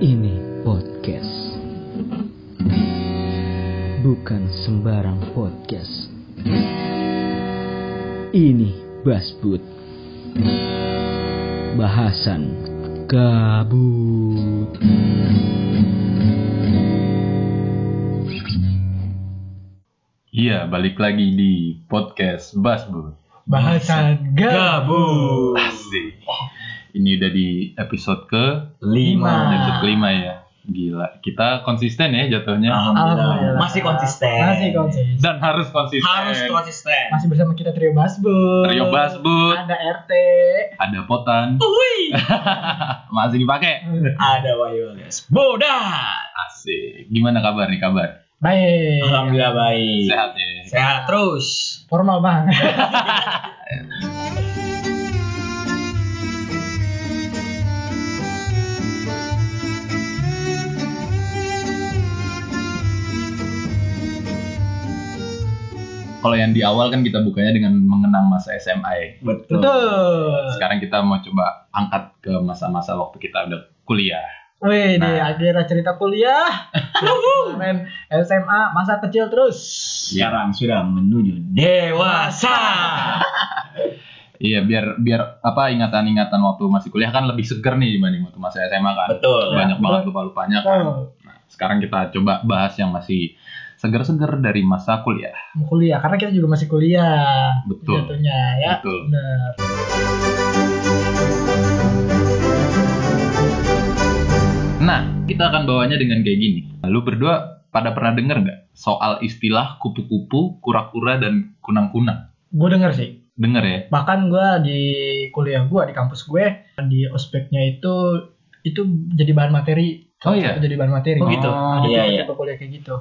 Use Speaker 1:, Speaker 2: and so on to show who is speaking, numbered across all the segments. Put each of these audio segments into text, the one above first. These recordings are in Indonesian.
Speaker 1: Ini podcast. Bukan sembarang podcast. Ini Basbud. Bahasan kabut.
Speaker 2: Iya, balik lagi di podcast Basbud.
Speaker 3: bahasa gabut.
Speaker 2: Asik. Ini udah di episode ke
Speaker 3: Lima.
Speaker 2: episode kelima ya. Gila, kita konsisten ya
Speaker 4: Ah.
Speaker 2: jatuhnya.
Speaker 3: Alhamdulillah.
Speaker 4: Masih konsisten.
Speaker 3: Masih konsisten.
Speaker 2: Dan harus konsisten.
Speaker 4: Harus konsisten.
Speaker 3: Masih bersama kita trio Basbud.
Speaker 2: Trio Basbud.
Speaker 3: Ada RT.
Speaker 2: Ada potan. Masih dipakai.
Speaker 4: Ada Wayu alias Boda.
Speaker 2: Asik. Gimana kabar nih kabar?
Speaker 1: Iya.
Speaker 3: Baik.
Speaker 4: Alhamdulillah baik.
Speaker 2: Sehat ya.
Speaker 4: Sehat terus.
Speaker 3: Formal bang.
Speaker 2: Kalau yang di awal kan kita bukanya dengan mengenang masa SMA. ya.
Speaker 4: Betul.
Speaker 3: Betul.
Speaker 2: Sekarang kita mau coba angkat ke masa-masa waktu kita udah kuliah.
Speaker 3: Wih, di
Speaker 2: Nah.
Speaker 3: akhirnya cerita kuliah. Kemarin SMA masa kecil terus.
Speaker 4: Sekarang sudah menuju dewasa.
Speaker 2: Iya, biar biar apa ingatan-ingatan waktu masih kuliah kan lebih seger nih dibanding waktu masa SMA kan.
Speaker 4: Betul.
Speaker 2: Banyak
Speaker 3: Ya,
Speaker 2: banget
Speaker 3: betul.
Speaker 2: lupa-lupanya kan.
Speaker 3: Oh,
Speaker 2: Nah, sekarang kita coba bahas yang masih seger-seger dari masa kuliah.
Speaker 3: mau kuliah karena kita juga masih kuliah.
Speaker 2: Betul.
Speaker 3: Jatuhnya ya.
Speaker 2: Betul.
Speaker 3: Benar.
Speaker 2: Nah, kita akan bawanya dengan kayak gini. Lalu berdua pada pernah denger nggak soal istilah kupu-kupu, kura-kura dan kunang-kunang?
Speaker 3: Gue denger sih.
Speaker 2: Denger ya?
Speaker 3: bahkan gue di kuliah gue di kampus gue di ospeknya itu itu jadi bahan materi
Speaker 2: Oh, iya?
Speaker 3: jadi bahan materi
Speaker 4: Oh, gitu?
Speaker 3: ada
Speaker 4: Iya, iya.
Speaker 3: tipe-tipe kuliah kayak gitu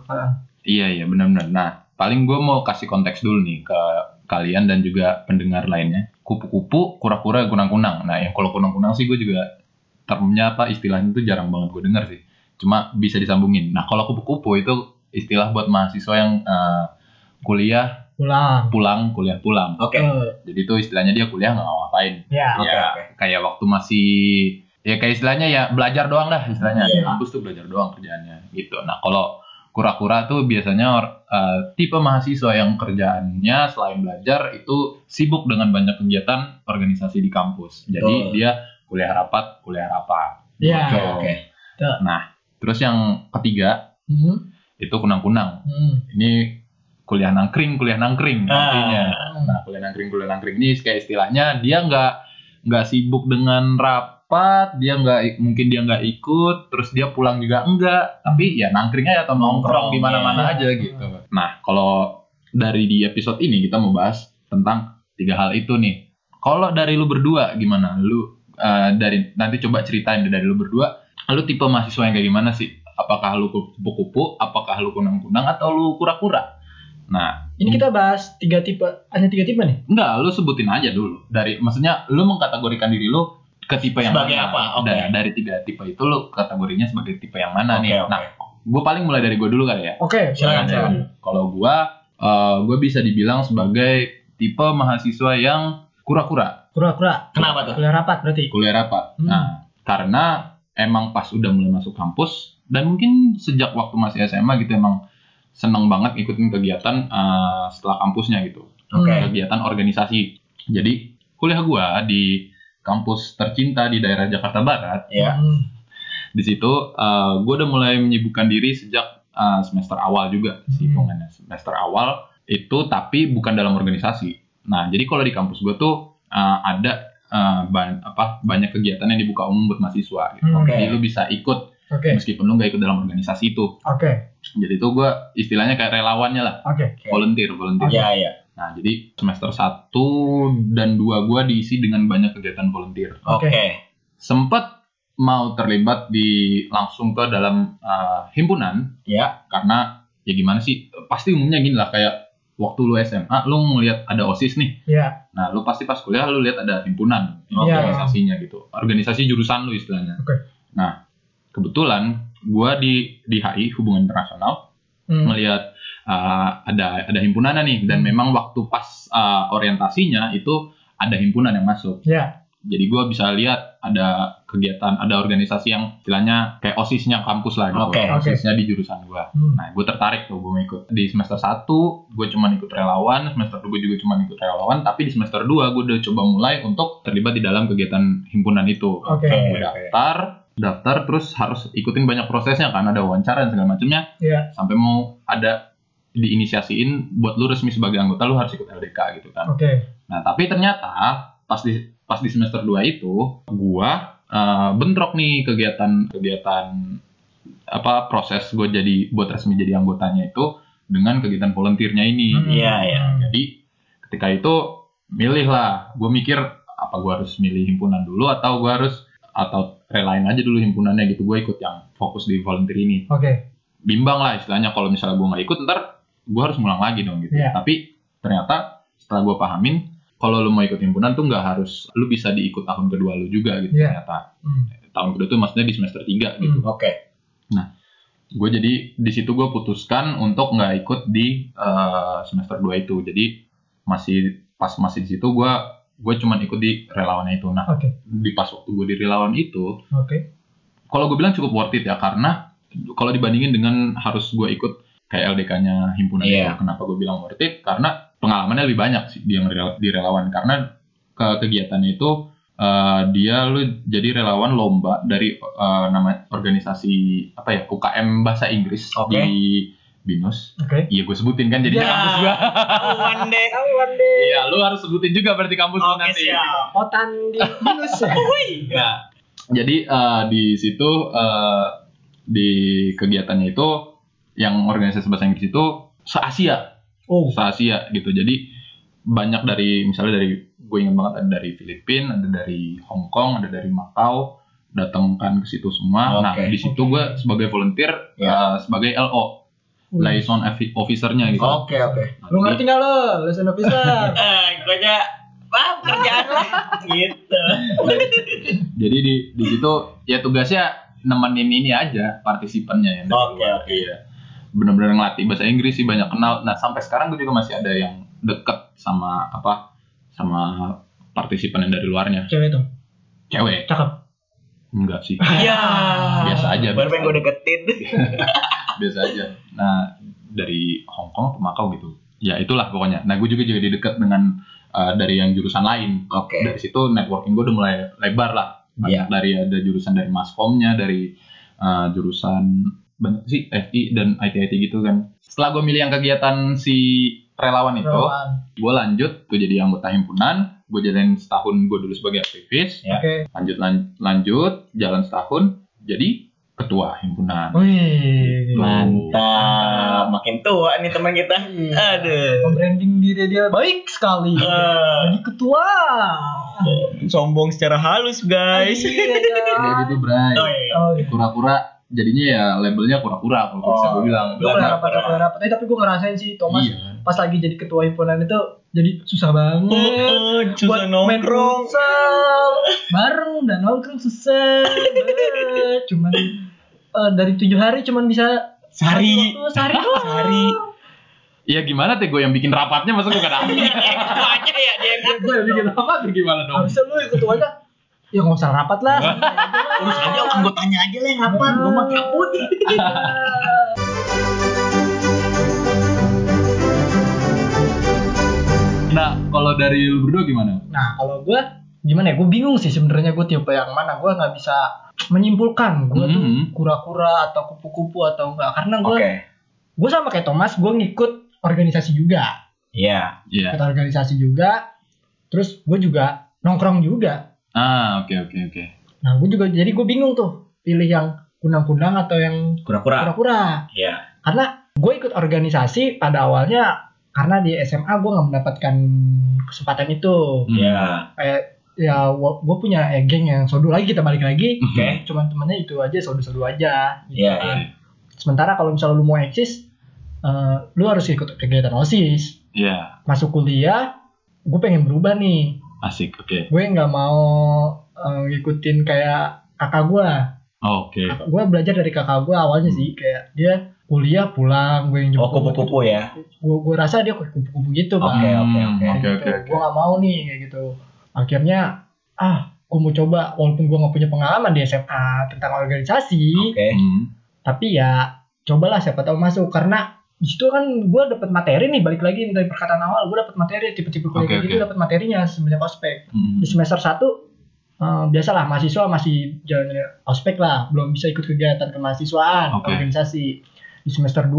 Speaker 2: Iya, iya benar-benar. Nah, paling gue mau kasih konteks dulu nih ke kalian dan juga pendengar lainnya. Kupu-kupu, kura-kura, kunang-kunang. Nah, yang kalau kunang-kunang sih gue juga termnya apa istilahnya itu jarang banget gue dengar sih. Cuma bisa disambungin. Nah, kalau kupu-kupu itu istilah buat mahasiswa yang eh, kuliah
Speaker 3: pulang
Speaker 2: pulang, kuliah pulang.
Speaker 4: Oke.
Speaker 3: Eh,
Speaker 2: Jadi itu istilahnya dia kuliah nggak ngapain.
Speaker 3: ya
Speaker 4: Oke,
Speaker 2: ya,
Speaker 4: oke.
Speaker 2: kayak waktu masih ya kayak istilahnya ya belajar doang lah istilahnya
Speaker 4: Iya.
Speaker 2: di kampus tuh belajar doang kerjaannya gitu nah kalau kura-kura tuh biasanya or- eh, tipe mahasiswa yang kerjaannya selain belajar itu sibuk dengan banyak kegiatan organisasi di kampus jadi
Speaker 4: Betul.
Speaker 2: dia kuliah rapat kuliah rapat
Speaker 3: Iya.
Speaker 2: Gitu.
Speaker 4: Oke.
Speaker 2: nah terus yang ketiga
Speaker 3: Hmm,
Speaker 2: itu kunang-kunang
Speaker 3: hmm,
Speaker 2: ini kuliah nangkring kuliah nangkring
Speaker 4: Ah.
Speaker 2: artinya
Speaker 3: hmm.
Speaker 2: Nah, kuliah nangkring, kuliah nangkring ini kayak istilahnya dia nggak nggak sibuk dengan rapat, dia nggak mungkin dia nggak ikut, terus dia pulang juga enggak, tapi ya nangkringnya atau nongkrong di mana-mana
Speaker 3: Iya.
Speaker 2: aja gitu. Nah, kalau dari di episode ini kita mau bahas tentang tiga hal itu nih. Kalau dari lu berdua gimana? Lu eh, dari nanti coba ceritain deh dari lu berdua, lu tipe mahasiswa yang kayak gimana sih? Apakah lu kupu-kupu, apakah lu kunang-kunang atau lu kura-kura? Nah,
Speaker 3: ini kita bahas tiga tipe hanya tiga tipe nih
Speaker 2: Enggak, lu sebutin aja dulu. Dari maksudnya lu mengkategorikan diri lu ke tipe yang
Speaker 4: Sebagai
Speaker 2: mana?
Speaker 4: apa? Oke.
Speaker 2: Da- dari tiga tipe itu lu kategorinya sebagai tipe yang mana
Speaker 4: Oke,
Speaker 2: nih?
Speaker 4: oke.
Speaker 2: Nah, gue paling mulai dari gue dulu kali ya.
Speaker 3: oke
Speaker 4: Silakan,
Speaker 2: Ya,
Speaker 4: silakan.
Speaker 2: Kalau gue, gue bisa dibilang sebagai tipe mahasiswa yang kura-kura
Speaker 3: kura-kura
Speaker 4: Kenapa tuh?
Speaker 3: kuliah rapat berarti
Speaker 2: kuliah rapat.
Speaker 3: Hmm.
Speaker 2: Nah, karena emang pas udah mulai masuk kampus dan mungkin sejak waktu masih SMA gitu emang seneng banget ikutin kegiatan eh, setelah kampusnya gitu
Speaker 4: Oke.
Speaker 2: kegiatan organisasi. Jadi kuliah gua di kampus tercinta di daerah Jakarta Barat.
Speaker 4: Ya.
Speaker 3: Hmm,
Speaker 2: Di situ eh, gua udah mulai menyibukkan diri sejak eh, semester awal juga, sih
Speaker 3: Hmm.
Speaker 2: hitungannya. semester awal itu tapi bukan dalam organisasi. Nah, jadi kalau di kampus gua tuh eh, ada eh, ban- apa banyak kegiatan yang dibuka umum buat mahasiswa gitu.
Speaker 3: Hmm.
Speaker 2: Jadi lu bisa ikut
Speaker 3: oke
Speaker 2: meskipun lu nggak ikut dalam organisasi itu.
Speaker 3: oke
Speaker 2: Jadi itu gua istilahnya kayak relawannya lah,
Speaker 3: oke
Speaker 4: Oke.
Speaker 2: volunteer, volunteer.
Speaker 4: Iya, iya.
Speaker 2: Nah, jadi semester 1 dan 2 gua diisi dengan banyak kegiatan volunteer.
Speaker 3: Oke.
Speaker 4: Oke.
Speaker 2: Sempet mau terlibat di langsung ke dalam uh, himpunan
Speaker 4: Ya.
Speaker 2: karena ya gimana sih? Pasti umumnya gini lah kayak waktu lu SMA lu ngelihat ada OSIS nih.
Speaker 3: ya
Speaker 2: Nah, lu pasti pas kuliah lu lihat ada himpunan
Speaker 4: Oke.
Speaker 2: organisasinya gitu. Organisasi jurusan lu istilahnya.
Speaker 3: Oke.
Speaker 2: Nah, kebetulan gua di di HI Hubungan Internasional
Speaker 3: Hmm,
Speaker 2: melihat uh, ada ada himpunannya nih dan memang waktu pas uh, orientasinya itu ada himpunan yang masuk
Speaker 3: ya
Speaker 2: jadi gue bisa lihat ada kegiatan ada organisasi yang istilahnya kayak osisnya kampus lah gitu
Speaker 4: Oke.
Speaker 2: osisnya di jurusan gua
Speaker 3: Hmm.
Speaker 2: nah gue tertarik tuh gue mau ikut di semester 1 gue cuman ikut relawan semester 2 gue juga cuman ikut relawan tapi di semester 2 gue udah coba mulai untuk terlibat di dalam kegiatan himpunan itu
Speaker 3: Oke.
Speaker 2: gue daftar daftar terus harus ikutin banyak prosesnya kan ada wawancara dan segala macamnya
Speaker 3: Iya.
Speaker 2: sampai mau ada diinisiasiin buat lu resmi sebagai anggota lu harus ikut LDK gitu kan.
Speaker 3: Oke.
Speaker 2: Nah, tapi ternyata pas di pas di semester 2 itu gua eh, bentrok nih kegiatan-kegiatan apa proses gue jadi buat resmi jadi anggotanya itu dengan kegiatan volunteernya ini.
Speaker 3: Hmm.
Speaker 4: Iya, iya.
Speaker 2: Jadi ketika itu milih lah, gue mikir apa gue harus milih himpunan dulu atau gue harus atau relain aja dulu himpunannya gitu gue ikut yang fokus di volunteer ini
Speaker 3: Oke.
Speaker 2: bimbang lah istilahnya kalau misalnya gue nggak ikut ntar gue harus ngulang lagi dong gitu.
Speaker 3: Iya.
Speaker 2: Tapi ternyata setelah gue pahamin kalau lu mau ikut himpunan tuh nggak harus lu bisa diikut tahun kedua lu juga gitu
Speaker 3: Iya.
Speaker 2: ternyata
Speaker 3: Hmm.
Speaker 2: tahun kedua tuh maksudnya di semester 3 gitu.
Speaker 3: Hmm.
Speaker 4: Oke.
Speaker 2: Gue jadi di situ gue putuskan untuk nggak ikut di eh, semester 2 itu. Jadi masih pas masih di situ gue gue cuman ikut di relawannya itu. Nah
Speaker 3: Oke.
Speaker 2: di pas waktu gue di relawan itu
Speaker 3: Oke.
Speaker 2: kalau gue bilang cukup worth it ya karena kalau dibandingin dengan harus gue ikut kayak LDK-nya himpunan
Speaker 4: Iya.
Speaker 2: itu kenapa gue bilang worth it karena pengalamannya lebih banyak sih di yang rela- di relawan karena ke kegiatannya itu eh, dia lu jadi relawan lomba dari eh, nama organisasi apa ya UKM bahasa Inggris
Speaker 4: Oke.
Speaker 2: di Binus
Speaker 3: Oke.
Speaker 2: iya gue sebutin kan jadi
Speaker 4: Ya.
Speaker 2: kampus gue
Speaker 4: Awan deh.
Speaker 3: Kawan deh.
Speaker 2: iya lu harus sebutin juga berarti kampus lu
Speaker 4: Oke,
Speaker 2: nanti
Speaker 4: siap.
Speaker 3: Otan di minus ya.
Speaker 5: iya.
Speaker 2: Nah, jadi eh, di situ eh, di kegiatannya itu yang organisasi bahasa Inggris itu se Asia,
Speaker 3: Oh.
Speaker 2: se Asia gitu. Jadi banyak dari misalnya dari gue ingat banget ada dari Filipina, ada dari Hong Kong, ada dari Makau datangkan ke situ semua. Nah,
Speaker 4: Oke. Ya.
Speaker 2: di situ gue sebagai volunteer eh, sebagai LO,
Speaker 3: Hmm.
Speaker 2: liaison Offi- officer-nya gitu.
Speaker 4: Oke, oke.
Speaker 2: Nah,
Speaker 3: Lu
Speaker 2: jadi-
Speaker 3: ngerti nggak lo? Lu sudah bisa.
Speaker 4: Eh, gue aja Wah, kerjaan lah gitu.
Speaker 2: Jadi di di situ ya tugasnya nemenin ini aja partisipannya yang dari
Speaker 4: Oke,
Speaker 2: luar.
Speaker 4: oke.
Speaker 2: Iya. Benar-benar ngelatih bahasa Inggris sih banyak kenal. Nah, sampai sekarang gue juga masih ada yang deket sama apa? sama partisipan yang dari luarnya.
Speaker 3: Cewek itu.
Speaker 2: Cewek.
Speaker 3: Cakep.
Speaker 2: Enggak sih.
Speaker 4: Iya.
Speaker 2: Biasa aja,
Speaker 4: Baru
Speaker 2: biasa
Speaker 4: pengen gue deketin.
Speaker 2: Biasa aja. Nah, dari Hong Kong ke Makau gitu. Ya itulah pokoknya. Nah, gue juga jadi deket dengan eh, dari yang jurusan lain.
Speaker 4: Oke.
Speaker 2: dari situ networking gue udah mulai lebar lah banyak dari ada jurusan dari maskomnya dari uh, jurusan banyak sih FI dan IT IT gitu kan setelah gue milih yang kegiatan si relawan itu
Speaker 3: Relawan.
Speaker 2: gue lanjut gue jadi anggota himpunan gue jalanin setahun gue dulu sebagai aktivis
Speaker 4: Ya.
Speaker 3: Oke.
Speaker 2: lanjut lan- lanjut jalan setahun jadi ketua himpunan
Speaker 3: Wih.
Speaker 4: Mantap. Makin tua nih teman kita.
Speaker 2: Hmm.
Speaker 3: Iya.
Speaker 4: Aduh.
Speaker 3: Membranding diri dia baik sekali.
Speaker 4: Eh,
Speaker 3: Jadi ketua.
Speaker 4: sombong secara halus, guys.
Speaker 3: Iya,
Speaker 2: Kayak
Speaker 3: kan?
Speaker 2: gitu Bray
Speaker 4: Oh, iya.
Speaker 3: Oh, iya.
Speaker 2: kura-kura jadinya ya labelnya kura-kura kalau
Speaker 4: Oh.
Speaker 2: bisa gue bilang
Speaker 3: Gue pernah rapat pernah rapat. Eh, tapi gue ngerasain sih Thomas
Speaker 2: Iya.
Speaker 4: kan?
Speaker 3: pas lagi jadi ketua himpunan itu jadi susah banget.
Speaker 4: Oh, oh, susah
Speaker 3: Buat main
Speaker 4: nongkrong.
Speaker 3: futsal, bareng dan nongkrong susah banget. Cuman eh, dari tujuh hari cuman bisa
Speaker 4: Sehari.
Speaker 3: satu waktu, sehari doang.
Speaker 4: Sehari.
Speaker 2: Iya gimana teh gue yang bikin rapatnya masa gue gak dapet
Speaker 4: Itu aja ya dia yang
Speaker 2: gue yang bikin rapat tuh gimana dong?
Speaker 3: Harusnya lu yang ketuanya ya nggak usah rapat lah. Eh, santai aja lah.
Speaker 4: urus aja anggotanya aja lah yang rapat. Gue mah kabut.
Speaker 2: Nah, kalau dari lu berdua gimana?
Speaker 3: Nah, kalau gue gimana ya? Gue bingung sih sebenarnya gue tipe yang mana. Gue nggak bisa menyimpulkan gue tuh
Speaker 2: Mhm.
Speaker 3: kura-kura atau kupu-kupu atau enggak karena gue gue sama kayak Thomas gue ngikut organisasi juga
Speaker 4: Iya.
Speaker 2: Iya.
Speaker 3: ikut organisasi juga terus gue juga nongkrong juga
Speaker 2: Ah, oke oke oke.
Speaker 3: nah gue juga jadi gue bingung tuh pilih yang kunang-kunang atau yang
Speaker 4: Kura-kura.
Speaker 3: kura-kura
Speaker 4: Iya.
Speaker 3: karena gue ikut organisasi pada awalnya karena di SMA gue nggak mendapatkan kesempatan itu
Speaker 2: Hmm.
Speaker 4: Iya.
Speaker 3: kayak ya gue punya eh, geng yang sodu lagi kita balik lagi
Speaker 4: Oke.
Speaker 2: Hmm.
Speaker 3: cuman temennya itu aja sodu-sodu aja gitu
Speaker 4: Iya,
Speaker 3: kan.
Speaker 4: iya.
Speaker 3: sementara kalau misalnya lu mau eksis eh, lu harus ikut kegiatan osis
Speaker 2: Iya,
Speaker 3: masuk kuliah gue pengen berubah nih
Speaker 2: asik. Oke.
Speaker 3: gue nggak mau eh, ngikutin kayak kakak gue
Speaker 4: Iya.
Speaker 2: Oke.
Speaker 3: Kakak gue belajar dari kakak gue awalnya sih kayak dia kuliah pulang gue yang
Speaker 4: Oh, kupu-kupu ya.
Speaker 3: gue gue rasa dia kayak kupu-kupu gitu
Speaker 4: Oke,
Speaker 3: Bang.
Speaker 4: oke, oke.
Speaker 2: Hmm, Oke
Speaker 3: Kayak
Speaker 2: oke
Speaker 3: gitu.
Speaker 2: oke.
Speaker 3: gue nggak mau nih kayak gitu akhirnya ah gue mau coba walaupun gue nggak punya pengalaman di SMA tentang organisasi
Speaker 5: Oke.
Speaker 2: Hmm.
Speaker 3: tapi ya cobalah siapa tahu masuk karena di situ kan gue dapet materi nih balik lagi dari perkataan awal gue dapet materi tipe-tipe kuliah
Speaker 2: Oke,
Speaker 3: kayak gitu
Speaker 2: oke.
Speaker 3: dapet materinya semenjak ospek
Speaker 2: Hmm.
Speaker 3: di semester 1 biasalah mahasiswa masih jalan ya, ospek lah belum bisa ikut kegiatan kemahasiswaan
Speaker 2: Oke.
Speaker 3: organisasi di semester 2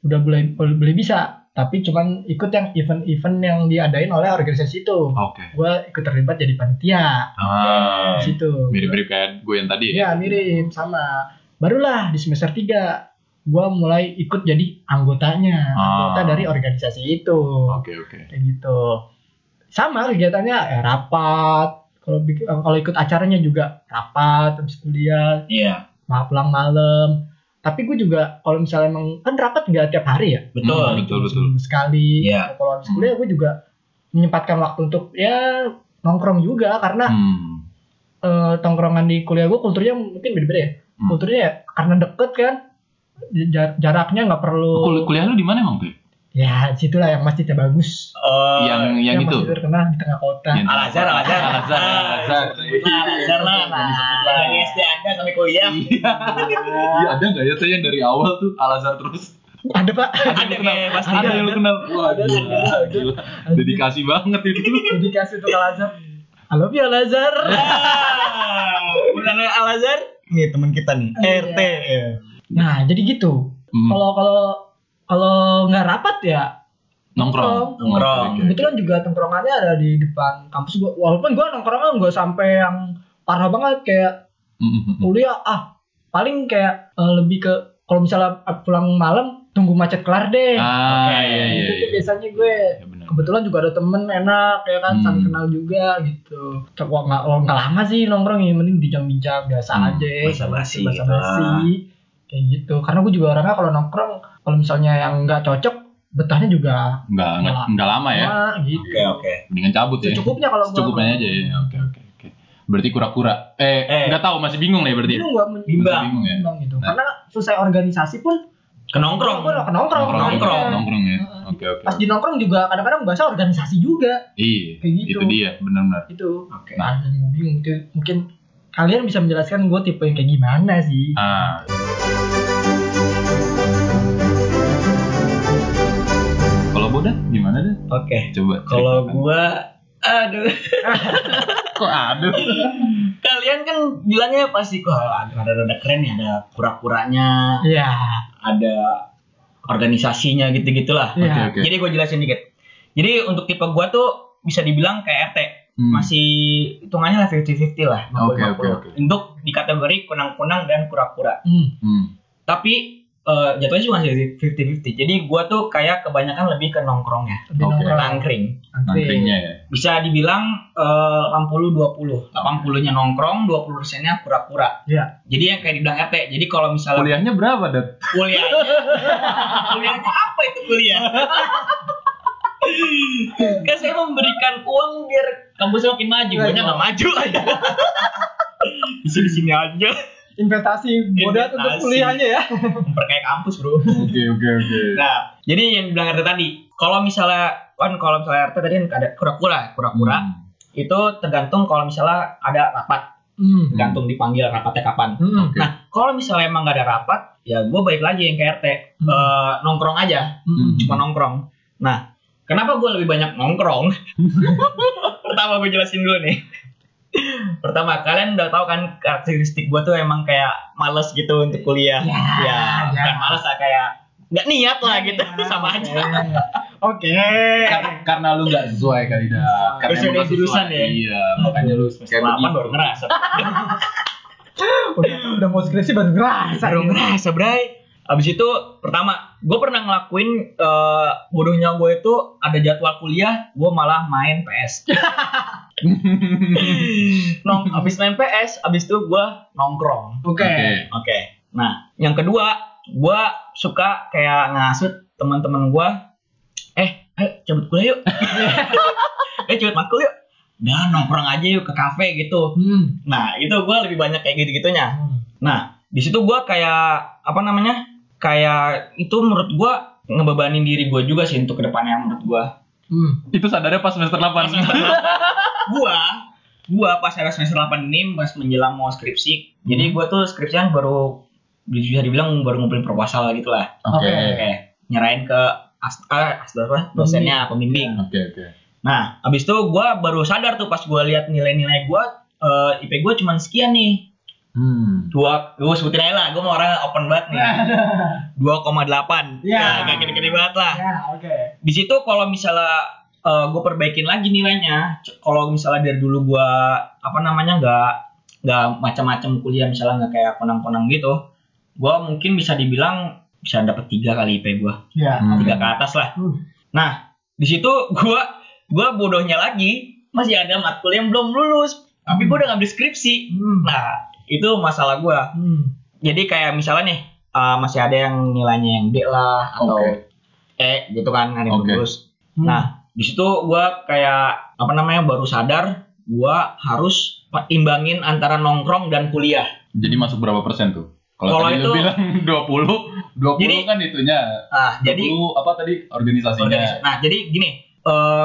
Speaker 3: udah boleh boleh bisa tapi cuman ikut yang event-event yang diadain oleh organisasi itu
Speaker 2: Oke.
Speaker 3: gue ikut terlibat jadi panitia
Speaker 2: Ah,
Speaker 3: di situ
Speaker 2: mirip-mirip kayak gue yang
Speaker 4: Iya.
Speaker 2: tadi ya.
Speaker 3: ya mirip sama barulah di semester 3 gue mulai ikut jadi anggotanya
Speaker 2: Ah.
Speaker 3: anggota dari organisasi itu
Speaker 2: Oke, oke.
Speaker 3: kayak gitu sama kegiatannya ya, rapat kalau bikin- eh, kalau ikut acaranya juga rapat habis kuliah
Speaker 5: Iya.
Speaker 3: ma- pulang malam tapi gue juga kalau misalnya emang kan rapat nggak tiap hari ya
Speaker 2: Hmm,
Speaker 5: Betul.
Speaker 2: betul, betul.
Speaker 3: Seminggu sekali
Speaker 5: Iya.
Speaker 3: kalau habis
Speaker 2: Hmm.
Speaker 3: kuliah gue juga menyempatkan waktu untuk ya nongkrong juga karena
Speaker 2: Hmm.
Speaker 3: eh, tongkrongan di kuliah gue kulturnya mungkin beda-beda ya
Speaker 2: Hmm.
Speaker 3: kulturnya ya karena deket kan jar- jaraknya nggak perlu
Speaker 2: Kul- kuliah lu di mana
Speaker 4: Eh,
Speaker 2: emang tuh?
Speaker 3: ya situlah yang masjidnya bagus
Speaker 5: Oh,
Speaker 2: yang yang itu.
Speaker 3: masjid terkenal di tengah kota
Speaker 2: Yang-
Speaker 5: Al-Azhar, Al-Azhar.
Speaker 2: Al-Azhar,
Speaker 4: Ah,
Speaker 2: Al-Azhar.
Speaker 5: Nah, dasar lah. Dari SD Anda sampai kuliah.
Speaker 2: Iya, ada nggak ya tuh yang dari awal tuh Al-Azhar terus?
Speaker 3: ada pak
Speaker 5: Ada
Speaker 2: Iya.
Speaker 5: kayak pasti.
Speaker 2: Ada yang lu kenal? Wah,
Speaker 3: Iya, Ada,
Speaker 2: gila,
Speaker 3: ada, ada.
Speaker 2: gila. Dedikasi banget itu.
Speaker 3: dedikasi untuk Al Azhar I love you Al Azhar
Speaker 5: Benar Al Azhar? Nih teman kita nih, RT. ya.
Speaker 3: nah jadi gitu
Speaker 2: Hmm.
Speaker 3: kalau kalau kalau nggak rapat ya
Speaker 2: Nongkrong.
Speaker 5: Nongkrong.
Speaker 2: Oke, oke.
Speaker 3: kebetulan juga tongkrongannya ada di depan kampus gua walaupun gua nongkrongnya nggak sampai yang parah banget kayak
Speaker 2: Hmm, hmm, hmm.
Speaker 3: kuliah ah paling kayak eh, lebih ke kalau misalnya pulang malam tunggu macet kelar deh
Speaker 2: Ah, iya iya.
Speaker 3: itu tuh
Speaker 2: iya.
Speaker 3: biasanya gue
Speaker 2: Ya, benar.
Speaker 3: kebetulan juga ada temen enak ya kan saling
Speaker 2: Hmm.
Speaker 3: kenal juga gitu Wah, nggak oh, nggak lama sih nongkrong ya mending bincang-bincang biasa
Speaker 2: Hmm,
Speaker 3: aja
Speaker 5: basa-basi
Speaker 3: basa
Speaker 5: gitu
Speaker 3: basi kayak gitu karena gue juga orangnya kalau nongkrong kalau misalnya yang nggak cocok betahnya juga
Speaker 2: Nggak, nggak, nggak lama ya.
Speaker 3: lama gitu
Speaker 5: Oke oke.
Speaker 2: Mendingan cabut ya.
Speaker 3: secukupnya kalau gue
Speaker 2: Secukupnya aja ya. Oke, oke, oke. Berarti kura-kura. Eh,
Speaker 5: Eh.
Speaker 2: nggak tahu masih bingung ya berarti.
Speaker 3: bingung gue
Speaker 5: Bimbang.
Speaker 2: Bingung ya.
Speaker 3: bimbang gitu
Speaker 2: Nah.
Speaker 3: karena selesai organisasi pun
Speaker 5: Kenongkrong.
Speaker 3: gue nggak nongkrong
Speaker 2: Nongkrong, nongkrong,
Speaker 3: nongkrong.
Speaker 2: nongkrong ya.
Speaker 3: Heeh.
Speaker 2: Oke, oke.
Speaker 3: pas di nongkrong juga kadang-kadang bahasa organisasi juga
Speaker 2: Iya,
Speaker 3: Kayak gitu.
Speaker 2: itu dia benar-benar.
Speaker 3: itu
Speaker 5: Oke.
Speaker 3: nah yang bingung tuh mungkin kalian bisa menjelaskan gue tipe yang kayak gimana sih
Speaker 2: Ah, kalau bodoh gimana deh?
Speaker 5: Oke.
Speaker 2: Coba.
Speaker 5: Kalau
Speaker 2: ceritakan.
Speaker 5: gua aduh
Speaker 2: kok ada?
Speaker 5: kalian kan bilangnya pasti kok ada ada keren ya ada kura-kuranya
Speaker 3: Iya.
Speaker 5: ada organisasinya gitu gitulah
Speaker 2: Oke,
Speaker 3: Iya.
Speaker 2: oke.
Speaker 5: jadi gue jelasin dikit jadi untuk tipe gua tuh bisa dibilang kayak RT
Speaker 2: Hmm.
Speaker 5: masih hitungannya lah 50-50 lah 50-50
Speaker 2: Oke, oke, oke.
Speaker 5: untuk di kategori kunang-kunang dan kura-kura
Speaker 3: Hmm.
Speaker 2: Hmm.
Speaker 5: tapi eh, jatuhnya juga masih 50-50 jadi gua tuh kayak kebanyakan lebih ke nongkrongnya
Speaker 3: Lebih
Speaker 2: Oke.
Speaker 3: nongkrong.
Speaker 5: nangkring
Speaker 2: Nangkringnya ya.
Speaker 5: bisa dibilang eh, 80-20 80-nya nongkrong 20%-nya kura-kura
Speaker 3: Iya.
Speaker 5: jadi yang kayak dibilang RT jadi kalau misalnya
Speaker 2: Kuliahnya berapa, Dad?
Speaker 5: kuliah kuliahnya apa itu kuliah kan saya memberikan uang biar kampus makin maju
Speaker 3: Iya,
Speaker 5: guanya
Speaker 3: iya.
Speaker 5: nggak maju di sini sini aja
Speaker 3: Investasi modal untuk
Speaker 5: Investasi.
Speaker 3: kuliahnya ya.
Speaker 5: memperkaya kampus bro
Speaker 2: Oke, oke, oke.
Speaker 5: nah jadi yang bilang RT tadi kalau misalnya kan kalau misalnya RT tadi kan ada kura-kura kura-kura
Speaker 2: Hmm.
Speaker 5: itu tergantung kalau misalnya ada rapat
Speaker 3: Hmm.
Speaker 5: tergantung dipanggil rapatnya kapan.
Speaker 3: Hmm.
Speaker 2: Oke.
Speaker 5: Nah, kalau misalnya emang nggak ada rapat, ya gue balik lagi yang ke RT
Speaker 3: Hmm.
Speaker 5: Eh, nongkrong aja,
Speaker 3: Hmm.
Speaker 5: cuma nongkrong. Nah, kenapa gue lebih banyak nongkrong? Pertama gue jelasin dulu nih. Pertama, kalian udah tahu kan karakteristik gue tuh emang kayak males gitu untuk kuliah. ya,
Speaker 3: Ya, ya. Iya,
Speaker 5: bukan males lah kayak nggak niat lah gitu, sama aja.
Speaker 3: Oke.
Speaker 2: Kar- karena lu nggak sesuai kali dah. Karena
Speaker 5: Sesuai
Speaker 2: emang nggak
Speaker 5: dari jurusan ya?
Speaker 2: Iya, makanya lu kayak
Speaker 5: Delapan
Speaker 2: begitu.
Speaker 5: baru ngerasa.
Speaker 3: Udah, udah mau skripsi baru ngerasa.
Speaker 5: Baru ngerasa bray Abis itu pertama Gue pernah ngelakuin eh, Bodohnya gue itu Ada jadwal kuliah Gue malah main PS Nong, Abis main PS Abis itu gue nongkrong
Speaker 3: Oke.
Speaker 5: Oke Nah yang kedua Gue suka kayak ngasut teman-teman gue Eh ayo cabut kuliah yuk Eh cabut matkul yuk Udah nongkrong aja yuk ke kafe gitu
Speaker 3: Hmm.
Speaker 5: Nah itu gue lebih banyak kayak gitu-gitunya Nah, di situ gua kayak apa namanya? Kayak itu menurut gua ngebebanin diri gua juga sih untuk kedepannya menurut gua.
Speaker 3: Hmm.
Speaker 2: Itu sadarnya pas semester 8.
Speaker 5: gua gua pas era semester 8 ini pas menjelang mau skripsi jadi gua tuh skripsian baru bisa dibilang baru ngumpulin proposal gitu lah
Speaker 2: Oke.
Speaker 5: Oke, nyerahin ke as, eh, as- apa, dosennya pembimbing
Speaker 2: Oke oke.
Speaker 5: nah abis itu gua baru sadar tuh pas gua lihat nilai-nilai gua eh, IP gua cuman sekian nih
Speaker 2: Hmm.
Speaker 5: dua gua sebutin aja lah gua mau orang open banget nih 2,8 ya
Speaker 3: Ya.
Speaker 5: gak gede-gede banget lah
Speaker 3: Ya, oke.
Speaker 5: di situ kalau misalnya gue perbaikin lagi nilainya C- kalau misalnya dari dulu gue apa namanya nggak nggak macam-macam kuliah misalnya nggak kayak konang-konang gitu gue mungkin bisa dibilang bisa dapet tiga kali IP gue
Speaker 3: Ya.
Speaker 2: Hmm.
Speaker 5: tiga ke atas lah
Speaker 3: Hmm.
Speaker 5: nah di situ gue gue bodohnya lagi masih ada matkul yang belum lulus tapi gue udah ngambil skripsi
Speaker 3: Hmm.
Speaker 5: nah itu masalah gue
Speaker 3: Hmm.
Speaker 5: jadi kayak misalnya nih uh, masih ada yang nilainya yang D lah atau
Speaker 2: Oke.
Speaker 5: E gitu kan ada yang
Speaker 2: Oke.
Speaker 5: lulus.
Speaker 3: Hmm.
Speaker 5: Nah di situ gue kayak apa namanya baru sadar gue harus imbangin antara nongkrong dan kuliah.
Speaker 2: Jadi masuk berapa persen tuh? Kalau
Speaker 5: Kalau
Speaker 2: tadi lu
Speaker 5: itu-
Speaker 2: bilang 20, 20
Speaker 5: Jadi-
Speaker 2: kan itunya.
Speaker 5: Nah
Speaker 2: 20
Speaker 5: jadi
Speaker 2: apa tadi organisasinya?
Speaker 5: organis- nah jadi gini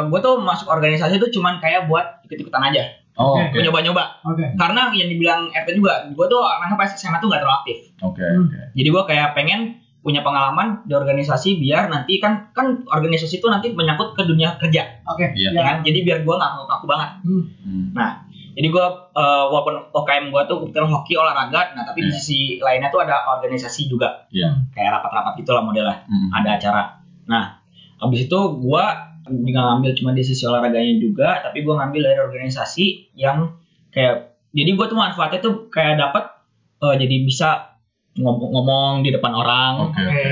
Speaker 5: gue tuh masuk organisasi itu cuman kayak buat ikut-ikutan aja,
Speaker 2: Oh,
Speaker 3: Oke.
Speaker 2: oke.
Speaker 5: gua nyoba-nyoba.
Speaker 3: Oke.
Speaker 5: Karena yang dibilang RT juga, gue tuh anaknya pas SMA tuh gak terlalu aktif.
Speaker 2: Oke,
Speaker 3: Hmm.
Speaker 2: oke.
Speaker 5: Jadi gue kayak pengen punya pengalaman di organisasi biar nanti kan kan organisasi itu nanti menyangkut ke dunia kerja,
Speaker 3: Oke.
Speaker 2: Iya.
Speaker 5: ya kan? Jadi biar gue nggak kaku banget.
Speaker 3: Hmm.
Speaker 2: Hmm.
Speaker 5: Nah, jadi gue walaupun OKM gue tuh kebetulan hoki olahraga, nah tapi
Speaker 2: Iya.
Speaker 5: di sisi lainnya tuh ada organisasi juga
Speaker 2: Iya.
Speaker 5: kayak rapat-rapat gitulah modelnya,
Speaker 2: Hmm.
Speaker 5: ada acara. Nah, habis itu gue juga ngambil cuma di sisi olahraganya juga, tapi gue ngambil dari organisasi yang kayak jadi gue tuh manfaatnya tuh kayak dapat eh, jadi bisa ngom- ngomong di depan orang,
Speaker 2: Oke.
Speaker 3: Oke.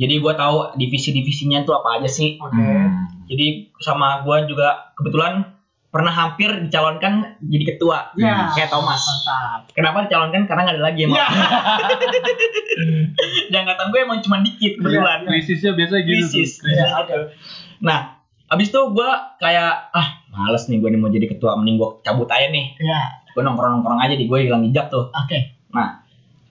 Speaker 5: jadi gue tahu divisi-divisinya tuh apa aja sih.
Speaker 3: Oke.
Speaker 2: Hmm.
Speaker 5: Jadi sama gue juga kebetulan pernah hampir dicalonkan jadi ketua
Speaker 3: Ya.
Speaker 5: kayak Thomas.
Speaker 3: Mantap.
Speaker 5: Kenapa dicalonkan? Karena nggak ada lagi emang.
Speaker 3: Ya.
Speaker 5: di angkatan gue emang cuma dikit kebetulan.
Speaker 2: Iya, Krisisnya biasanya gitu. tuh.
Speaker 5: Krisis. krisis gitu. Nah, abis itu gue kayak ah males nih gue nih mau jadi ketua mending gue cabut aja nih.
Speaker 3: Ya.
Speaker 5: Gue nongkrong nongkrong aja di gue hilang jejak tuh.
Speaker 3: Oke.
Speaker 5: Nah,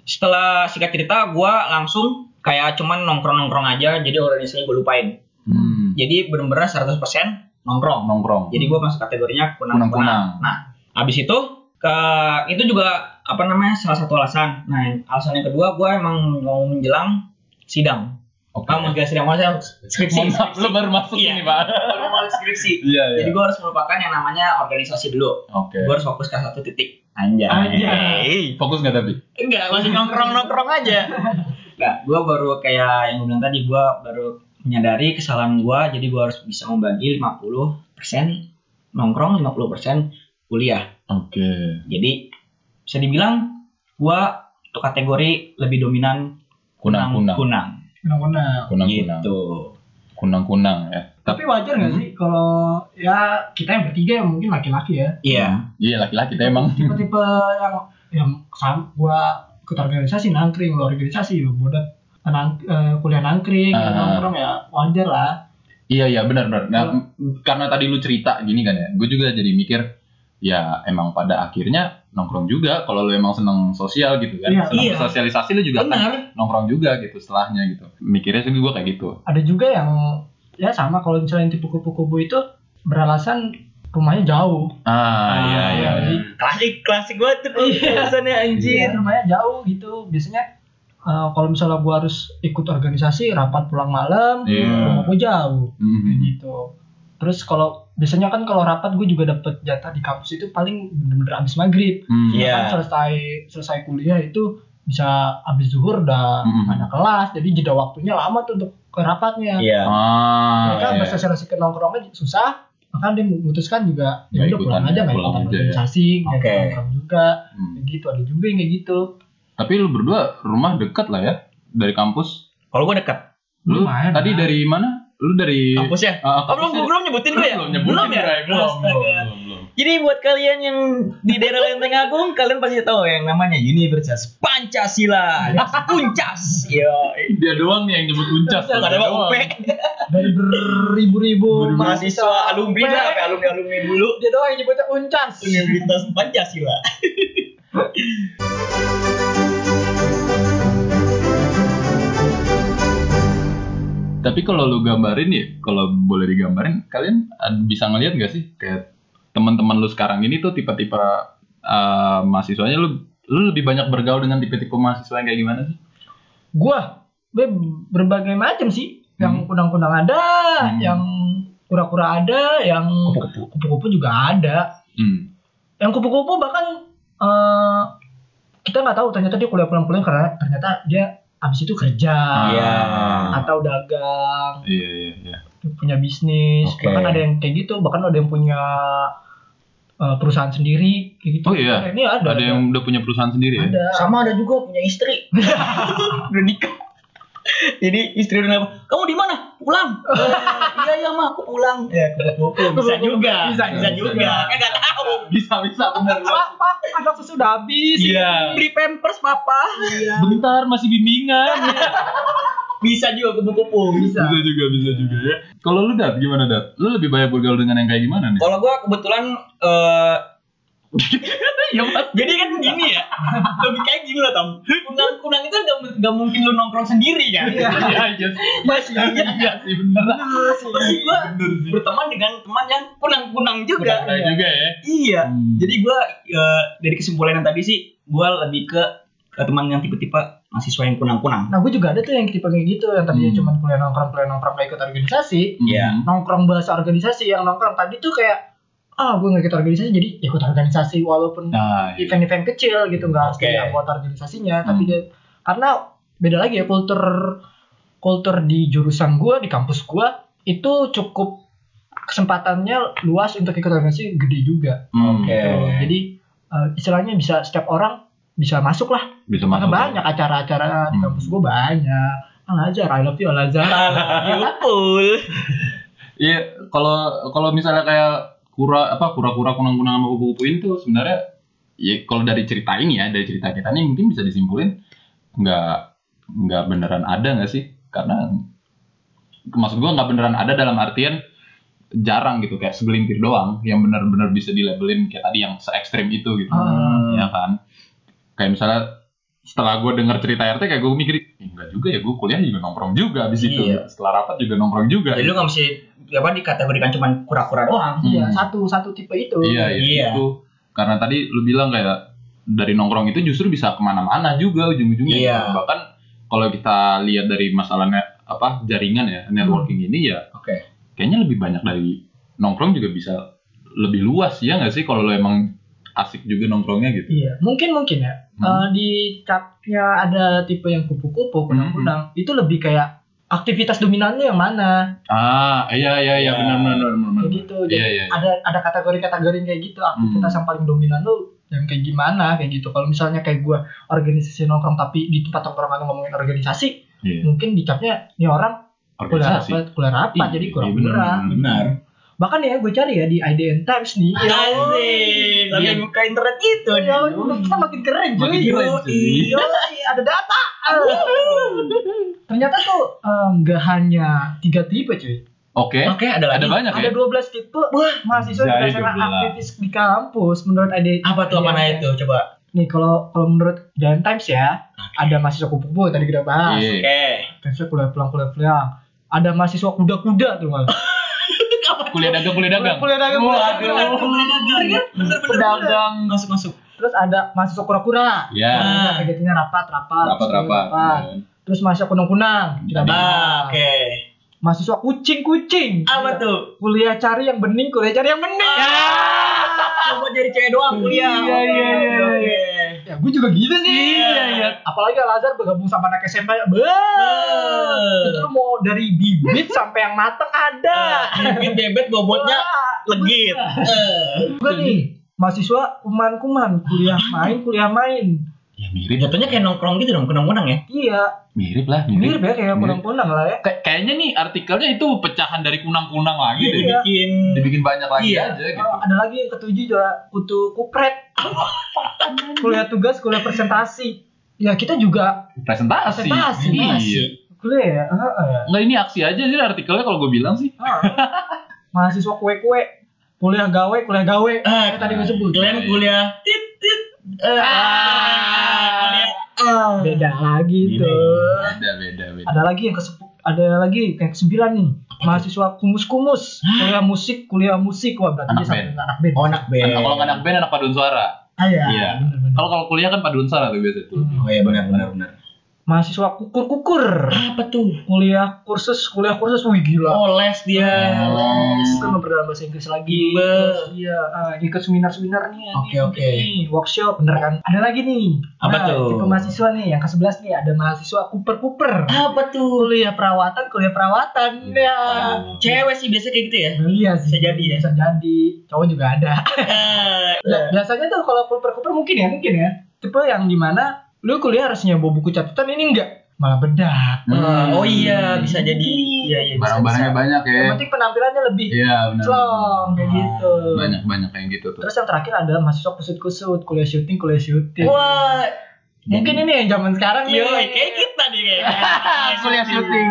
Speaker 5: setelah singkat cerita gue langsung kayak cuman nongkrong nongkrong aja jadi organisasinya gue lupain.
Speaker 2: Hmm. Iya.
Speaker 5: Jadi bener-bener 100% nongkrong.
Speaker 2: Nongkrong.
Speaker 5: Jadi gue masuk kategorinya
Speaker 2: Kunang-kunang.
Speaker 5: kunang-kunang. Nah, abis itu ke itu juga apa namanya salah satu alasan. Nah, alasan yang kedua gue emang mau menjelang sidang.
Speaker 2: Oke.
Speaker 5: Kamu menjelang sidang maksudnya skripsi.
Speaker 2: Mohon maaf,
Speaker 5: skripsi.
Speaker 2: lu baru masuk
Speaker 5: Iya.
Speaker 2: ini, Pak.
Speaker 5: Baru mau skripsi.
Speaker 2: Iya, iya.
Speaker 5: Jadi gue harus melupakan yang namanya organisasi dulu.
Speaker 2: Oke. Nah,
Speaker 5: Gue harus fokus ke satu titik. Anjay. Iya.
Speaker 3: Anjay.
Speaker 2: Fokus nggak tapi?
Speaker 5: Enggak, masih nongkrong-nongkrong aja. Enggak, gue baru kayak yang gue bilang tadi, gue baru menyadari kesalahan gue, jadi gue harus bisa membagi 50% nongkrong, 50% kuliah.
Speaker 2: Oke.
Speaker 5: Jadi, bisa dibilang gue untuk kategori lebih dominan
Speaker 2: Kunang-kunang.
Speaker 5: kunang.
Speaker 3: Benar-benar.
Speaker 2: Kunang-kunang.
Speaker 5: Gitu.
Speaker 2: Kunang-kunang ya.
Speaker 3: Tapi wajar nggak sih kalau ya kita yang bertiga ya mungkin laki-laki ya.
Speaker 5: Iya.
Speaker 2: Iya, laki-laki kita emang.
Speaker 3: Tipe-tipe yang yang sam gua ikut organisasi nangkring, luar organisasi bodoh nang, eh, kuliah nangkring,
Speaker 2: Ah.
Speaker 3: nongkrong ya wajar lah.
Speaker 2: Iya iya benar benar. Nah,
Speaker 5: Oh.
Speaker 2: m- karena tadi lu cerita gini kan ya, gue juga jadi mikir ya emang pada akhirnya nongkrong juga kalau lu emang seneng sosial gitu kan,
Speaker 3: Iya.
Speaker 2: seneng
Speaker 5: Iya.
Speaker 2: sosialisasi lu juga akan
Speaker 5: Bener.
Speaker 2: nongkrong juga gitu setelahnya gitu. Mikirnya sih gue kayak gitu.
Speaker 3: Ada juga yang ya sama kalau misalnya yang tipe kupu-kupu itu beralasan rumahnya jauh.
Speaker 2: Ah, iya iya.
Speaker 3: jadi
Speaker 5: Hmm, Klasik, klasik banget tuh alasannya
Speaker 3: Iya, rumahnya jauh gitu. Biasanya eh, kalau misalnya gua harus ikut organisasi, rapat pulang malam,
Speaker 2: Iya.
Speaker 3: rumah gua jauh Kayak
Speaker 2: Mhm.
Speaker 3: gitu. Terus kalau biasanya kan kalau rapat gue juga dapet jatah di kampus itu paling bener-bener abis maghrib.
Speaker 2: Hmm.
Speaker 5: Iya.
Speaker 3: Sedangkan selesai selesai kuliah itu bisa abis zuhur udah
Speaker 2: Mhm.
Speaker 3: ada kelas, jadi jeda waktunya lama tuh untuk ke rapatnya.
Speaker 5: Iya.
Speaker 2: Ah,
Speaker 3: Mereka
Speaker 2: iya.
Speaker 3: bersosialisasi ke nongkrongnya susah, maka dia memutuskan juga ya
Speaker 2: Nggak
Speaker 3: udah pulang
Speaker 2: ikutan,
Speaker 3: aja nggak
Speaker 2: pulang
Speaker 3: ikutan
Speaker 2: aja ya."
Speaker 3: organisasi, nggak
Speaker 5: Oke.
Speaker 3: ikutan nongkrong juga,
Speaker 2: Hmm.
Speaker 3: Kayak gitu ada juga yang kayak gitu.
Speaker 2: Tapi lu berdua rumah dekat lah ya dari kampus.
Speaker 5: Kalau gue deket
Speaker 2: Lu
Speaker 3: Lumayan,
Speaker 2: tadi
Speaker 3: lumayan.
Speaker 2: dari mana? Lu dari
Speaker 5: kampus ya?
Speaker 2: Ah,
Speaker 5: Oh, belum,
Speaker 2: kampusnya-
Speaker 5: gua belum nyebutin gue ya?
Speaker 2: Belum nyebutin,
Speaker 5: ya?
Speaker 2: Bray. belum, belum,
Speaker 5: Astaga.
Speaker 2: belum, belum.
Speaker 5: Jadi buat kalian yang di daerah Lenteng Agung, kalian pasti tahu yang namanya Universitas Pancasila, Uncas. Yo.
Speaker 2: Dia doang nih yang nyebut uncas.
Speaker 5: Gak ada
Speaker 2: Dia doang.
Speaker 5: UP.
Speaker 3: dari beribu-ribu
Speaker 5: Mahasiswa alumni lah,
Speaker 3: Pe.
Speaker 5: sampai alumni alumni dulu.
Speaker 3: dia doang yang nyebutnya uncas.
Speaker 2: Iya.
Speaker 5: Universitas Pancasila.
Speaker 2: Tapi kalau lu gambarin ya, kalau boleh digambarin, kalian ad- bisa ngelihat gak sih kayak teman-teman lu sekarang ini tuh tipe-tipe eh, mahasiswanya lu lu lebih banyak bergaul dengan tipe-tipe mahasiswa yang kayak gimana sih?
Speaker 3: gua gue berbagai macam sih yang kundang-kundang ada
Speaker 2: Hmm.
Speaker 3: yang kura-kura ada yang
Speaker 2: Kupu-kupu.
Speaker 3: kupu-kupu juga ada
Speaker 2: Hmm.
Speaker 3: yang kupu-kupu bahkan eh, kita nggak tahu ternyata dia kuliah pulang-pulang karena ternyata dia abis itu kerja
Speaker 5: Iya.
Speaker 2: Ah.
Speaker 3: atau dagang
Speaker 2: Iya iya iya.
Speaker 3: punya bisnis
Speaker 5: Oke.
Speaker 3: bahkan ada yang kayak gitu bahkan ada yang punya eh, perusahaan sendiri kayak gitu
Speaker 2: Oh iya.
Speaker 3: ini ada
Speaker 2: Ada yang udah punya perusahaan sendiri ya?
Speaker 3: ada
Speaker 5: Sama ada juga punya istri. udah nikah. Jadi istri udah nelpon, kamu di mana? Pulang. "Eh, iya iya mah aku pulang. Ya kupu-kupu bisa juga.
Speaker 3: Bisa,
Speaker 2: bisa juga.
Speaker 5: Kan nggak tahu.
Speaker 2: Bisa bisa bener. lu.
Speaker 3: Papa, anak susu udah habis.
Speaker 5: Iya. Beli pampers papa.
Speaker 2: Bentar masih bimbingan.
Speaker 5: Bisa juga kupu-kupu.
Speaker 3: Bisa.
Speaker 2: bisa juga bisa juga ya. Kalau lu dat gimana dat? Lu lebih banyak bergaul dengan yang kayak gimana nih?
Speaker 5: Kalau gua kebetulan eh
Speaker 2: Iya Mas.
Speaker 5: jadi kan gini ya, lebih kayak gini loh Tom. Kunang-kunang itu gak, gak mungkin lu nongkrong sendiri kan.
Speaker 2: Iya iya sih. Iya sih bener.
Speaker 5: Maksud gua
Speaker 2: Bener sih.
Speaker 5: berteman dengan teman yang kunang-kunang juga.
Speaker 2: Bener juga ya.
Speaker 5: Iya.
Speaker 2: Hmm.
Speaker 5: Jadi gua eh, dari kesimpulan yang tadi sih, gua lebih ke, ke teman yang tipe-tipe mahasiswa yang kunang-kunang.
Speaker 3: Nah, gue juga ada tuh yang tipe kayak gitu, yang tadinya
Speaker 2: Hmm.
Speaker 3: cuma kuliah nongkrong, kuliah nongkrong gak ikut organisasi,
Speaker 2: Hmm.
Speaker 5: Iya.
Speaker 3: nongkrong bahasa organisasi, yang nongkrong tadi tuh kayak, ah gue gak ikut organisasi, jadi ya ikut organisasi walaupun
Speaker 2: Nah, iya.
Speaker 3: event-event kecil gitu, nggak harus
Speaker 5: Oke.
Speaker 3: jadi anggota organisasinya,
Speaker 2: Hmm.
Speaker 3: tapi dia, karena beda lagi ya kultur kultur di jurusan gue di kampus gue itu cukup kesempatannya luas untuk ikut organisasi gede juga.
Speaker 2: Hmm.
Speaker 5: Oke.
Speaker 3: Gitu. Jadi eh, istilahnya bisa setiap orang bisa masuk lah.
Speaker 2: Bisa
Speaker 3: Karena
Speaker 2: masuk. ya.
Speaker 3: banyak acara-acara di
Speaker 2: Hmm.
Speaker 3: kampus gue banyak. Al Azhar, I love you Al Azhar.
Speaker 5: Ya Yupul.
Speaker 2: Iya, kalau kalau misalnya kayak kura apa kura-kura kunang-kunang sama kupu-kupu itu sebenarnya ya kalau dari cerita ini ya dari cerita kita nih mungkin bisa disimpulin nggak nggak beneran ada nggak sih karena maksud gua nggak beneran ada dalam artian jarang gitu kayak segelintir doang yang bener-bener bisa dilabelin kayak tadi yang se ekstrim itu gitu
Speaker 5: Hmm.
Speaker 3: Ah.
Speaker 2: ya kan kayak misalnya setelah gua denger cerita RT kayak gue mikir "Ih, nggak juga ya gue kuliah juga nongkrong juga abis itu
Speaker 5: Iya.
Speaker 2: setelah rapat juga nongkrong juga
Speaker 5: Jadi lu gak mesti apa dikategorikan cuma kura-kura doang.
Speaker 3: Iya,
Speaker 2: Hmm.
Speaker 3: satu satu tipe itu.
Speaker 2: Iya, iya.
Speaker 5: Iya.
Speaker 2: Itu karena tadi lu bilang kayak dari nongkrong itu justru bisa kemana-mana juga ujung-ujungnya.
Speaker 5: Iya.
Speaker 2: gitu. Bahkan kalau kita lihat dari masalahnya apa jaringan ya networking ini ya
Speaker 5: Oke.
Speaker 2: kayaknya lebih banyak dari nongkrong juga bisa lebih luas ya nggak sih kalau lu emang asik juga nongkrongnya gitu.
Speaker 3: Iya, mungkin mungkin ya.
Speaker 2: Hmm.
Speaker 3: eh, di capnya ada tipe yang kupu-kupu, kunang-kunang. Itu lebih kayak aktivitas dominannya yang mana?
Speaker 2: Ah, iya iya iya
Speaker 5: Iya.
Speaker 2: benar benar benar, benar.
Speaker 3: Kayak gitu. Jadi
Speaker 2: Iya iya. iya.
Speaker 3: ada ada kategori-kategori kayak gitu. Aktivitas
Speaker 2: Hmm.
Speaker 3: yang paling dominan lu yang kayak gimana kayak gitu. Kalau misalnya kayak gua organisasi nongkrong tapi di tempat nongkrong ngomongin organisasi,
Speaker 2: Iya.
Speaker 3: mungkin dicapnya ini orang kuliah
Speaker 2: Organisasi.
Speaker 3: rapat, kuliah rapat jadi
Speaker 2: Iya,
Speaker 3: kurang
Speaker 2: benar,
Speaker 3: murah.
Speaker 2: benar, benar.
Speaker 3: Bahkan ya gue cari ya di IDN Times nih.
Speaker 5: Iya,
Speaker 3: Ya,
Speaker 5: Asik. Tapi
Speaker 2: Iya.
Speaker 5: buka internet gitu.
Speaker 3: ya, kita makin keren cuy.
Speaker 2: Makin keren, cuy.
Speaker 3: Iya, ada data. Ternyata tuh eh, nggak hanya tiga tipe cuy.
Speaker 2: Oke.
Speaker 5: Oke, ada lagi.
Speaker 2: Ada banyak
Speaker 3: Ada
Speaker 2: ya?
Speaker 3: 12 tipe mahasiswa
Speaker 2: Jadi
Speaker 3: berdasarkan
Speaker 2: 12.
Speaker 3: aktivis di kampus menurut IDN.
Speaker 5: Apa tuh apa
Speaker 3: IDN.
Speaker 5: itu? Coba.
Speaker 3: ya. Nih kalau kalau menurut IDN Times ya, ada mahasiswa kupu-kupu tadi kita bahas.
Speaker 2: Iya.
Speaker 5: Oke.
Speaker 3: Mahasiswa kuliah pulang kuliah pulang. Ada mahasiswa kuda-kuda tuh malah.
Speaker 2: Kuliah dagang, kuliah dagang.
Speaker 3: Kuliah dagang, kuliah dagang.
Speaker 5: kan
Speaker 2: Oh.
Speaker 5: ya? Bener-bener. Masuk masuk.
Speaker 3: Terus ada mahasiswa kura-kura.
Speaker 2: Iya.
Speaker 3: Nah, Kegiatannya rapat, rapat.
Speaker 2: Rapat Hmm. rapat.
Speaker 3: Terus mahasiswa kunang-kunang. Kita bahas.
Speaker 5: Nah, oke.
Speaker 3: Mahasiswa kucing-kucing.
Speaker 5: Apa
Speaker 3: Iya.
Speaker 5: tuh?
Speaker 3: Kuliah cari yang bening, kuliah cari yang bening.
Speaker 5: Coba jadi cewek doang kuliah.
Speaker 3: Ya. Iya, iya, iya,
Speaker 5: Oke,
Speaker 3: iya.
Speaker 5: oke.
Speaker 3: Ya, gue juga gitu sih.
Speaker 5: Iya, iya.
Speaker 3: Apalagi Al Azhar bergabung sama anak SMP. Bah. Itu lu mau dari bibit sampai yang mateng
Speaker 5: Ah,
Speaker 3: ada.
Speaker 5: Bibit bebet bobotnya
Speaker 3: Ya. Wah.
Speaker 5: legit. Eh. iya.
Speaker 3: Juga nih, mahasiswa kuman-kuman. Kuliah main, kuliah main.
Speaker 2: Ya mirip.
Speaker 5: Jatuhnya kayak nongkrong gitu dong, kunang-kunang ya.
Speaker 3: Iya,
Speaker 2: Mirip lah, mirip.
Speaker 3: mirip ya kayak
Speaker 2: Mirip.
Speaker 3: kunang-kunang lah ya.
Speaker 2: Kay- kayaknya nih artikelnya itu pecahan dari kunang-kunang lagi deh.
Speaker 3: Iya.
Speaker 5: Bikin
Speaker 2: Dibikin banyak lagi
Speaker 5: Iya.
Speaker 2: aja gitu.
Speaker 3: Oh, ada lagi yang ketujuh juga kutu kupret. kuliah tugas, kuliah presentasi. Ya kita juga
Speaker 2: Presentasi.
Speaker 3: Presentasi,
Speaker 2: Iya.
Speaker 3: kuliah ya. heeh.
Speaker 2: Nggak ini aksi aja sih artikelnya kalau gue bilang sih.
Speaker 3: Heeh. Mahasiswa kue-kue, kuliah gawe, kuliah gawe.
Speaker 5: Ah,
Speaker 3: Yang tadi gue sebut.
Speaker 5: kalian kuliah tit tit. Eh, kuliah.
Speaker 3: Ah, Beda lagi
Speaker 5: Beda.
Speaker 3: tuh.
Speaker 2: Beda beda beda.
Speaker 3: Ada lagi yang ke ada lagi yang kesembilan nih. mahasiswa kumus-kumus kuliah musik kuliah musik wah berarti
Speaker 2: Anak
Speaker 3: dia sama
Speaker 2: band.
Speaker 3: dengan anak band
Speaker 5: Oh anak band.
Speaker 2: Kan kalau nggak anak band anak paduan suara.
Speaker 3: ah, iya,
Speaker 2: Iya.
Speaker 3: bener-bener.
Speaker 2: Kalau kalau kuliah kan paduan suara tuh biasa tuh.
Speaker 3: Hmm.
Speaker 5: Oh iya benar benar benar.
Speaker 3: mahasiswa kukur-kukur
Speaker 5: Apa tuh?
Speaker 3: kuliah kursus kuliah kursus wih gila
Speaker 5: Oh les dia.
Speaker 3: Oh.
Speaker 5: Les.
Speaker 3: Itu memperdalam bahasa Inggris lagi.
Speaker 5: Gimba.
Speaker 3: Terus, Iya, ah, ini ke seminar-seminar nih.
Speaker 5: Oke,
Speaker 3: ini,
Speaker 5: oke.
Speaker 3: ini, workshop bener kan? Ada lagi nih.
Speaker 5: Apa tuh?
Speaker 3: Tipe mahasiswa nih yang ke-11 nih ada mahasiswa kuper-kuper.
Speaker 5: Apa tuh?
Speaker 3: Kuliah perawatan, kuliah perawatan. Ya.
Speaker 5: Cewek sih biasa kayak gitu ya.
Speaker 3: Iya sih.
Speaker 5: Iya, Bisa jadi ya?
Speaker 3: Bisa jadi. Cowok juga ada.
Speaker 5: Eh,
Speaker 3: Nah, biasanya tuh kalau kuper-kuper mungkin ya, mungkin ya. Tipe yang dimana lu kuliah harusnya bawa buku catatan ini enggak malah bedak.
Speaker 5: eh, Oh iya bisa jadi.
Speaker 3: Mungkin.
Speaker 5: Iya iya. bisa,
Speaker 2: Barang-barangnya
Speaker 5: bisa.
Speaker 2: banyak ya.
Speaker 3: Yang penting penampilannya lebih
Speaker 2: Iya benar.
Speaker 3: Slong, kayak gitu.
Speaker 2: Banyak banyak kayak gitu tuh.
Speaker 3: Terus yang terakhir ada mahasiswa kusut-kusut, kuliah syuting, kuliah syuting.
Speaker 5: Wah.
Speaker 3: Mungkin ini yang zaman sekarang nih.
Speaker 5: Yo, Oh, iya.
Speaker 3: Iya.
Speaker 5: kayak gitu. kita nih kayaknya.
Speaker 2: kuliah syuting,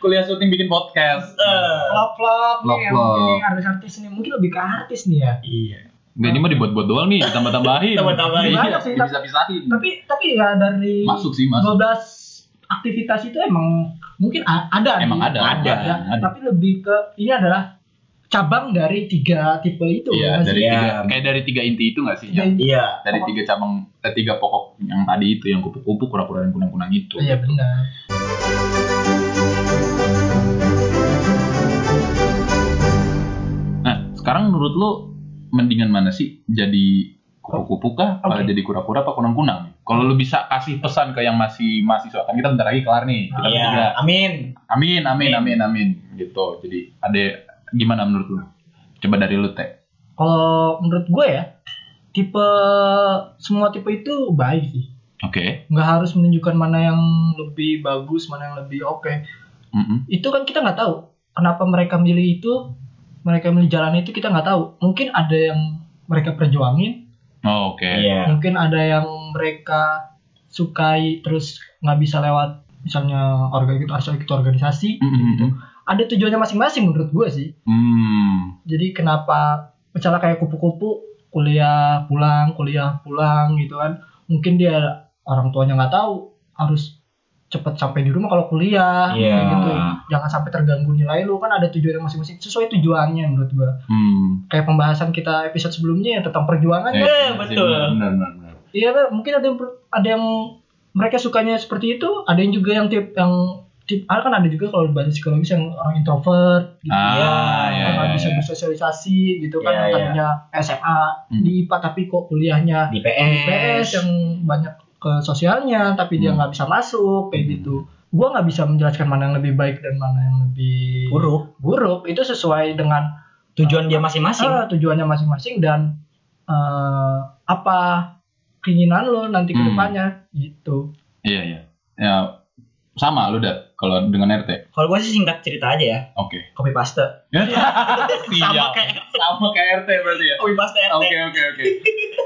Speaker 2: kuliah syuting bikin podcast.
Speaker 5: Eh,
Speaker 3: Flop-flop nih yang
Speaker 2: Flop-flop.
Speaker 3: mungkin nih artis-artis nih. Mungkin lebih ke artis nih ya.
Speaker 5: Iya.
Speaker 2: Gak ini mah dibuat-buat doang nih, ditambah-tambahin.
Speaker 5: Tambah-tambahin.
Speaker 2: Iya,
Speaker 3: Banyak sih, tapi-
Speaker 2: dipisah-pisahin.
Speaker 3: Tapi tapi ya dari
Speaker 2: Masuk sih, masuk.
Speaker 3: 12 aktivitas itu emang mungkin a- ada.
Speaker 2: Emang
Speaker 3: nih.
Speaker 2: ada,
Speaker 5: Ada.
Speaker 2: ada, ada.
Speaker 3: Tapi lebih ke ini adalah cabang dari tiga tipe itu.
Speaker 2: Iya,
Speaker 3: ya
Speaker 2: dari
Speaker 3: sih?
Speaker 5: Iya.
Speaker 2: tiga, kayak dari tiga inti itu gak sih?
Speaker 3: Tiga
Speaker 2: Yang-
Speaker 3: ini.
Speaker 5: Iya.
Speaker 2: dari tiga cabang, eh, tiga pokok yang tadi itu, yang kupu-kupu, kura-kura, dan kunang-kunang itu.
Speaker 3: Iya benar.
Speaker 2: Nah, sekarang menurut lu mendingan mana sih? Jadi kupu-kupu kah? Apa
Speaker 3: Oke.
Speaker 2: jadi kura-kura apa kunang-kunang? Kalau lu bisa kasih pesan ke yang masih mahasiswa, kan kita bentar lagi kelar nih. Kita
Speaker 5: Iya.
Speaker 2: bertiga.
Speaker 5: Amin.
Speaker 2: Amin, amin, amin, amin. Gitu. Jadi ada gimana menurut lu? Coba dari lu teh.
Speaker 3: Kalau menurut gue ya, tipe semua tipe itu baik sih.
Speaker 2: Oke.
Speaker 3: nggak harus menunjukkan mana yang lebih bagus mana yang lebih oke
Speaker 2: Mm-mm.
Speaker 3: itu kan kita nggak tahu kenapa mereka milih itu mereka milih jalan itu kita nggak tahu mungkin ada yang mereka perjuangin
Speaker 2: Oh, Oke.
Speaker 5: Iya.
Speaker 3: mungkin ada yang mereka sukai terus nggak bisa lewat misalnya organ gitu harus ikut organisasi
Speaker 2: Mm-mm.
Speaker 3: ada tujuannya masing-masing menurut gue sih
Speaker 2: Hmm.
Speaker 3: jadi kenapa misalnya kayak kupu-kupu kuliah pulang kuliah pulang gitu kan mungkin dia orang tuanya nggak tahu harus cepet sampai di rumah kalau kuliah
Speaker 5: Iya.
Speaker 3: kayak gitu jangan sampai terganggu nilai lu kan ada tujuannya masing-masing sesuai tujuannya menurut gua
Speaker 2: Hmm.
Speaker 3: kayak pembahasan kita episode sebelumnya ya tentang perjuangan
Speaker 2: Eh,
Speaker 3: kan?
Speaker 2: iya sih,
Speaker 5: betul.
Speaker 2: Benar, benar, benar.
Speaker 3: iya kan? mungkin ada yang per- ada yang mereka sukanya seperti itu ada yang juga yang tip yang tip ah, kan ada juga kalau di basis psikologis yang orang introvert gitu
Speaker 2: Ah,
Speaker 5: Iya.
Speaker 2: ya.
Speaker 3: nggak bisa bersosialisasi gitu
Speaker 5: Iya,
Speaker 3: kan yang
Speaker 5: iya.
Speaker 3: tadinya SMA
Speaker 2: Hmm.
Speaker 3: di IPA tapi kok kuliahnya
Speaker 5: Di
Speaker 3: di
Speaker 5: PS.
Speaker 3: PS yang banyak ke sosialnya tapi dia
Speaker 2: Hmm.
Speaker 3: nggak bisa masuk kayak
Speaker 2: Hmm.
Speaker 3: gitu gua nggak bisa menjelaskan mana yang lebih baik dan mana yang lebih
Speaker 5: Buruk.
Speaker 3: buruk itu sesuai dengan
Speaker 5: Tujuan dia masing-masing.
Speaker 3: eh, tujuannya masing-masing dan eh, apa keinginan lo nanti ke
Speaker 2: Hmm.
Speaker 3: depannya gitu
Speaker 2: Iya, iya. Ya, sama lu dah kalau dengan RT.
Speaker 5: Kalau gue sih singkat cerita aja ya.
Speaker 2: Oke.
Speaker 5: Copy paste.
Speaker 2: Sial.
Speaker 5: kayak
Speaker 2: sama kayak RT berarti ya.
Speaker 5: copy paste RT.
Speaker 2: Oke, oke, oke.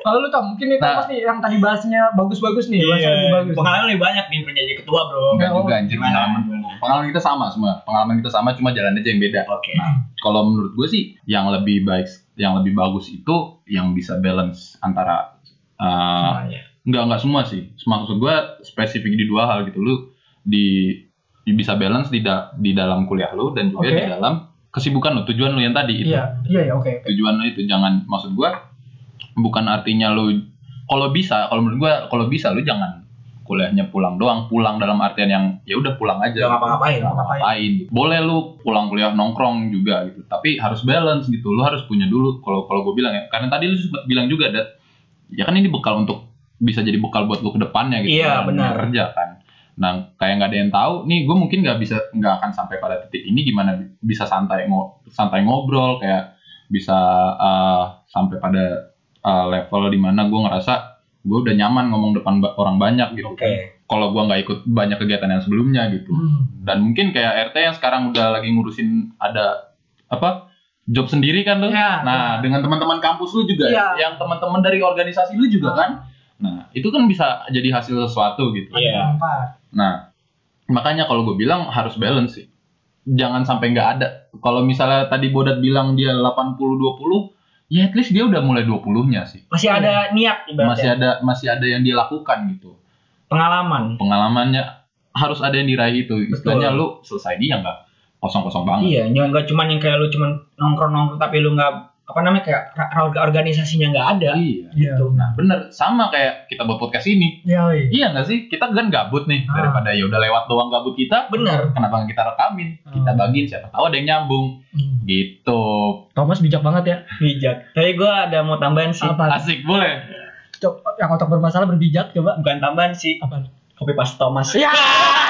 Speaker 3: kalau lu tau mungkin itu
Speaker 2: Nah. Iya,
Speaker 3: pasti yang tadi bahasnya bagus-bagus nih bahasnya Iya, lebih bagus
Speaker 5: Iya. Pengalaman lebih banyak nih punya jadi ketua, Bro.
Speaker 2: Enggak
Speaker 3: Oh,
Speaker 2: juga anjir
Speaker 5: gimana?
Speaker 2: pengalaman. Iya. Pengalaman kita sama semua. Pengalaman kita sama cuma jalan aja yang beda.
Speaker 5: Oke.
Speaker 2: Nah, kalau menurut gue sih yang lebih baik, yang lebih bagus itu yang bisa balance antara uh,
Speaker 5: Semuanya.
Speaker 2: nggak nggak semua sih. Maksud gue spesifik di dua hal gitu lu di, di bisa balance di da- di dalam kuliah lu dan juga
Speaker 3: Oke.
Speaker 2: di dalam kesibukan lu, tujuan lu yang tadi itu.
Speaker 3: iya iya ya oke oke.
Speaker 2: Tujuan lu itu jangan maksud gue bukan artinya lu kalau bisa, kalau menurut gue kalau bisa lu jangan kuliahnya pulang doang, pulang dalam artian yang ya udah pulang aja
Speaker 5: Gak ngapa-ngapain.
Speaker 2: nggak ngapain boleh lu pulang kuliah nongkrong juga gitu tapi harus balance gitu lu harus punya dulu kalau kalau gue bilang ya karena tadi lu sempat bilang juga dat ya kan ini bekal untuk bisa jadi bekal buat lu ke depannya gitu
Speaker 5: Iya,
Speaker 2: dalam
Speaker 5: benar.
Speaker 2: dunia kerja kan nah kayak nggak ada yang tahu nih gue mungkin nggak bisa nggak akan sampai pada titik ini gimana bi- bisa santai ngo- santai ngobrol kayak bisa eh, sampai pada eh, level dimana gue ngerasa gue udah nyaman ngomong depan ba- orang banyak gitu
Speaker 5: Oke.
Speaker 2: kalau gue nggak ikut banyak kegiatan yang sebelumnya gitu
Speaker 3: Hmm.
Speaker 2: dan mungkin kayak RT yang sekarang udah lagi ngurusin ada apa job sendiri kan lu
Speaker 3: Ya.
Speaker 2: nah dengan teman-teman kampus lu juga
Speaker 3: Ya.
Speaker 2: yang teman-teman dari organisasi lu juga kan nah itu kan bisa jadi hasil sesuatu gitu
Speaker 5: Iya.
Speaker 3: Empat.
Speaker 2: nah makanya kalau gue bilang harus balance sih jangan sampai nggak ada kalau misalnya tadi Bodat bilang dia 80 20 ya at least dia udah mulai 20-nya sih
Speaker 5: Masih ada niat
Speaker 2: masih
Speaker 5: ibaratnya.
Speaker 2: ada masih ada yang dia lakukan gitu
Speaker 5: Pengalaman.
Speaker 2: pengalamannya harus ada yang diraih itu
Speaker 5: Betul.
Speaker 2: istilahnya lu selesai dia nggak kosong-kosong banget.
Speaker 5: Iya, jangan nggak cuman yang kayak lu cuman nongkrong nongkrong tapi lu nggak apa namanya kayak ra- ra- organisasinya nggak ada. Gitu.
Speaker 2: Iya.
Speaker 3: Iya.
Speaker 2: Nah, bener sama kayak kita buat podcast ini.
Speaker 3: Iya. iya.
Speaker 2: Iya nggak sih? Kita kan gabut nih
Speaker 3: Ah.
Speaker 2: daripada ya udah lewat doang gabut kita.
Speaker 5: Bener.
Speaker 2: Kenapa nggak kita rekamin? Kita
Speaker 3: Ah.
Speaker 2: bagiin siapa tahu ada yang nyambung
Speaker 3: Hmm.
Speaker 2: gitu.
Speaker 3: Thomas bijak banget ya.
Speaker 5: Bijak. Tapi gua ada mau tambahan sih.
Speaker 3: Apa?
Speaker 2: Asik boleh.
Speaker 3: Coba, yang otak bermasalah berbijak coba.
Speaker 5: Bukan tambahan sih.
Speaker 3: Apa?
Speaker 5: Kopi pas Thomas.
Speaker 3: Ya.